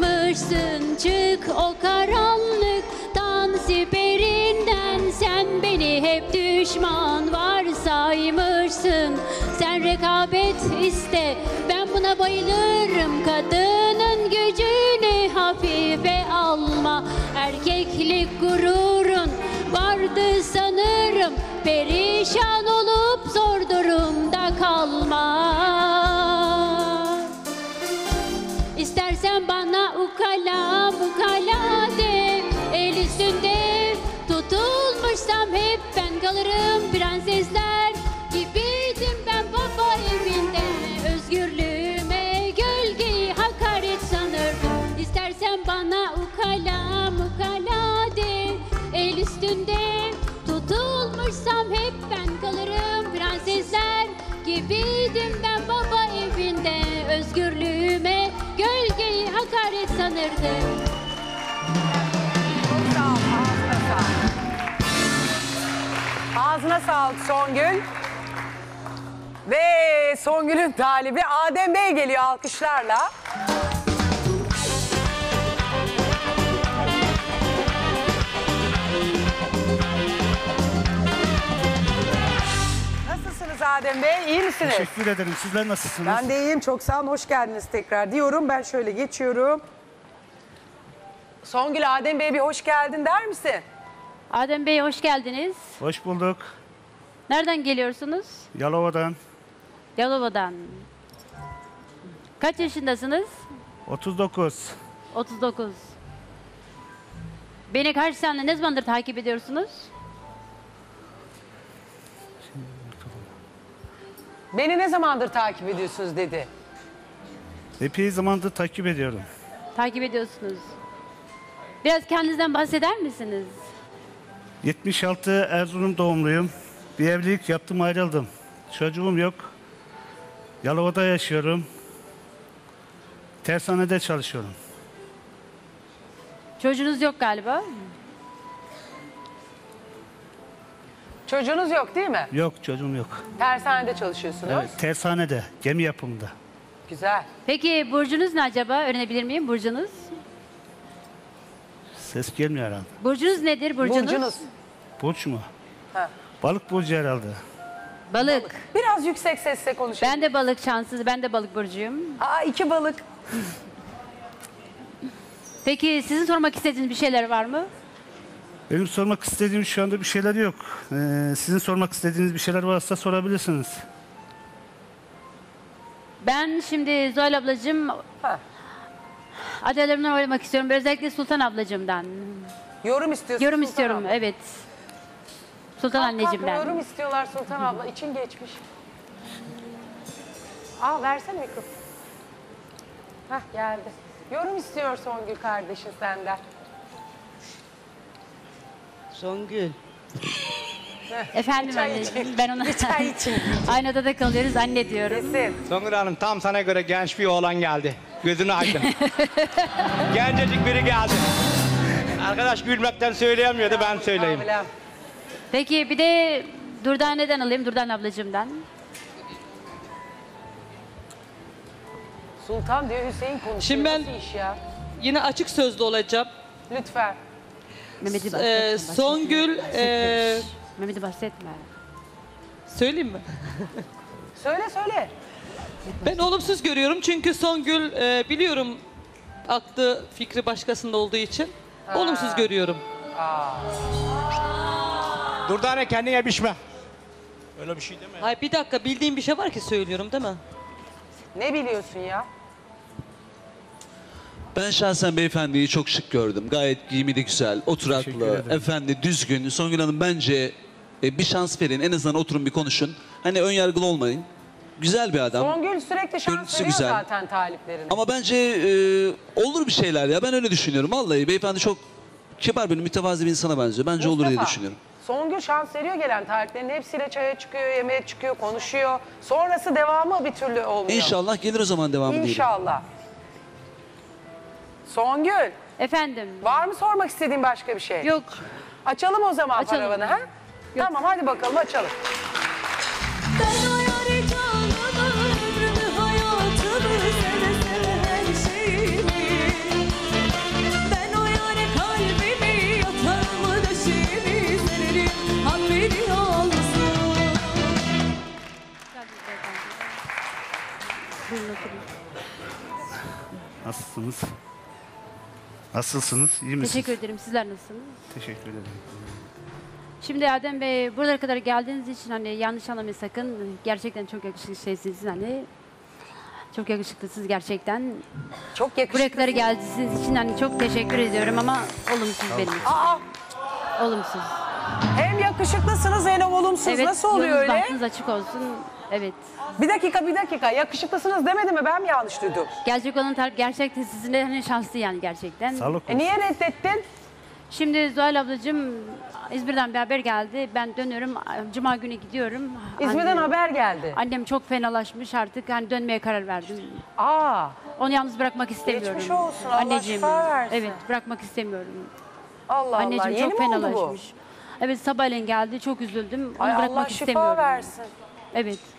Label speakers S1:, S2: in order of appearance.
S1: Çıksın çık o karanlıktan siperinden Sen beni hep düşman varsaymışsın Sen rekabet iste ben buna bayılırım Kadının gücünü hafife alma Erkeklik gururun vardı sanırım Perişan olup zor durumda kalma İstersen bana ukala mukala de El üstünde tutulmuşsam hep ben kalırım Prensesler gibiydim ben baba evinde Özgürlüğüme gölgeyi hakaret sanırdım İstersen bana ukala mukala de El üstünde tutulmuşsam hep ben kalırım Prensesler gibiydim ben baba evinde Özgürlüğüme gölgeyi hakaret sanırdım
S2: Çok sağ ol. Ağzına sağlık. Ağzına sağlık Songül. Ve Songül'ün talibi Adem Bey geliyor alkışlarla. Nasılsınız Adem Bey? İyi misiniz?
S3: Teşekkür ederim. Sizler nasılsınız?
S2: Ben de iyiyim. Çok sağ olun. Hoş geldiniz tekrar diyorum. Ben şöyle geçiyorum. Songül Adem Bey bir hoş geldin der misin?
S1: Adem Bey hoş geldiniz.
S3: Hoş bulduk.
S1: Nereden geliyorsunuz?
S3: Yalova'dan
S1: Yalova'dan. Kaç yaşındasınız?
S3: 39.
S1: 39. Beni kaç sene ne zamandır takip ediyorsunuz?
S2: Beni ne zamandır takip ediyorsunuz dedi.
S3: Epey zamandır takip ediyorum.
S1: Takip ediyorsunuz. Biraz kendinizden bahseder misiniz?
S3: 76 Erzurum doğumluyum. Bir evlilik yaptım ayrıldım. Çocuğum yok. Yalova'da yaşıyorum. Tersanede çalışıyorum.
S1: Çocuğunuz yok galiba.
S2: Çocuğunuz yok değil mi?
S3: Yok çocuğum yok.
S2: Tersanede çalışıyorsunuz.
S3: Evet, tersanede, gemi yapımında.
S2: Güzel.
S1: Peki burcunuz ne acaba? Öğrenebilir miyim burcunuz?
S3: Ses gelmiyor herhalde.
S1: Burcunuz nedir burcunuz?
S2: Burcunuz.
S3: Burç mu?
S2: Ha.
S3: Balık burcu herhalde.
S1: Balık.
S2: Biraz yüksek sesle konuşun.
S1: Ben de balık şanssız, ben de balık burcuyum.
S2: Aa iki balık.
S1: Peki sizin sormak istediğiniz bir şeyler var mı?
S3: Benim sormak istediğim şu anda bir şeyler yok. Ee, sizin sormak istediğiniz bir şeyler varsa sorabilirsiniz.
S1: Ben şimdi Zuhal ablacığım
S2: Ha.
S1: adaylarımdan oylamak istiyorum. Özellikle Sultan ablacığımdan.
S2: Yorum istiyorsun.
S1: Yorum
S2: Sultan
S1: istiyorum,
S2: abla.
S1: evet. Sultan
S2: Kalk, kalk, Yorum
S1: anneciğimden.
S2: istiyorlar Sultan abla. İçin geçmiş. Aa versene mikrofonu. Hah geldi. Yorum istiyor Songül kardeşin senden.
S4: Songül.
S1: Efendim
S2: Çay
S1: anneciğim,
S2: için.
S1: ben ona...
S2: çay için.
S1: Aynı odada kalıyoruz, anne diyorum.
S2: Kesin.
S5: Songül Hanım tam sana göre genç bir oğlan geldi. Gözünü aydın. Gencecik biri geldi. Arkadaş gülmekten söyleyemiyordu ben söyleyeyim.
S2: Ablam.
S1: Peki bir de Durdane'den alayım, Durdan ablacığımdan.
S2: Sultan diyor Hüseyin konuşuyor.
S4: Şimdi ben-
S2: Nasıl iş ya?
S4: Yine açık sözlü olacağım.
S2: Lütfen.
S1: Mehmet'i bahsetme.
S2: e,
S4: Ee,
S1: bahsetme.
S4: Songül, ee,
S1: Mehmet'i bahsetme.
S4: söyleyeyim mi?
S2: Söyle söyle.
S4: Ben olumsuz görüyorum çünkü Songül ee, biliyorum aklı fikri başkasında olduğu için olumsuz görüyorum.
S5: Durdane kendine şey. pişme. Öyle bir şey deme.
S4: Hayır bir dakika bildiğim bir şey var ki söylüyorum değil mi?
S2: Ne biliyorsun ya?
S6: Ben şahsen beyefendiyi çok şık gördüm. Gayet giyimi de güzel, oturaklı, efendi, düzgün. Songül Hanım bence e, bir şans verin. En azından oturun bir konuşun. Hani ön yargılı olmayın. Güzel bir adam.
S2: Songül sürekli şans
S6: Görüntüsü
S2: veriyor
S6: güzel.
S2: zaten taliplerine.
S6: Ama bence e, olur bir şeyler ya. Ben öyle düşünüyorum. Vallahi beyefendi çok kibar bir mütevazi bir insana benziyor. Bence olur diye
S2: Mustafa,
S6: düşünüyorum.
S2: Songül şans veriyor gelen tarihlerin hepsiyle çaya çıkıyor, yemeğe çıkıyor, konuşuyor. Sonrası devamı bir türlü olmuyor.
S6: İnşallah gelir o zaman devamı diyelim.
S2: İnşallah. Songül,
S1: Efendim,
S2: var mı sormak istediğin başka bir şey?
S1: yok.
S2: Açalım o zaman
S1: Açalım.
S2: paravanı ha? Tamam hadi bakalım açalım.
S7: Ben o yâre canımı, ömrümü, hayatımı, seve seve her şeyimi
S3: Nasılsınız? Nasılsınız? İyi misiniz?
S8: Teşekkür ederim. Sizler nasılsınız?
S3: Teşekkür ederim.
S8: Şimdi Adem Bey buralara kadar geldiğiniz için hani yanlış anlamayın sakın. Gerçekten çok yakışıklı şeysiniz hani. Çok yakışıklısınız gerçekten.
S2: Çok yakışıklı.
S8: Buraya geldiğiniz için hani çok teşekkür ediyorum ama olumsuz benim. için.
S2: Aa,
S8: Olumsuz.
S2: hem yakışıklısınız hem olumsuz. Nasıl oluyor
S8: yolunuz
S2: öyle?
S8: bahtınız açık olsun. Evet.
S2: Bir dakika bir dakika. Yakışıklısınız demedi mi? Ben mi yanlış duydum?
S8: Gelecek olan talep gerçekten sizin de hani şanslı yani gerçekten.
S3: Sağlık
S2: E niye reddettin?
S8: Şimdi Zuhal ablacığım İzmir'den bir haber geldi. Ben dönüyorum. Cuma günü gidiyorum.
S2: İzmir'den
S8: Annem-
S2: haber geldi.
S8: Annem çok fenalaşmış artık. Hani dönmeye karar verdim.
S2: Aa,
S8: Onu yalnız bırakmak istemiyorum.
S2: Geçmiş olsun, Allah şifa versin.
S8: Evet bırakmak istemiyorum.
S2: Allah Allah.
S8: Anneciğim
S2: Yeni
S8: çok
S2: mi oldu bu?
S8: fenalaşmış. Evet sabahleyin geldi çok üzüldüm. Onu
S2: Ay
S8: bırakmak
S2: Allah şifa
S8: istemiyorum.
S2: versin.
S8: Evet.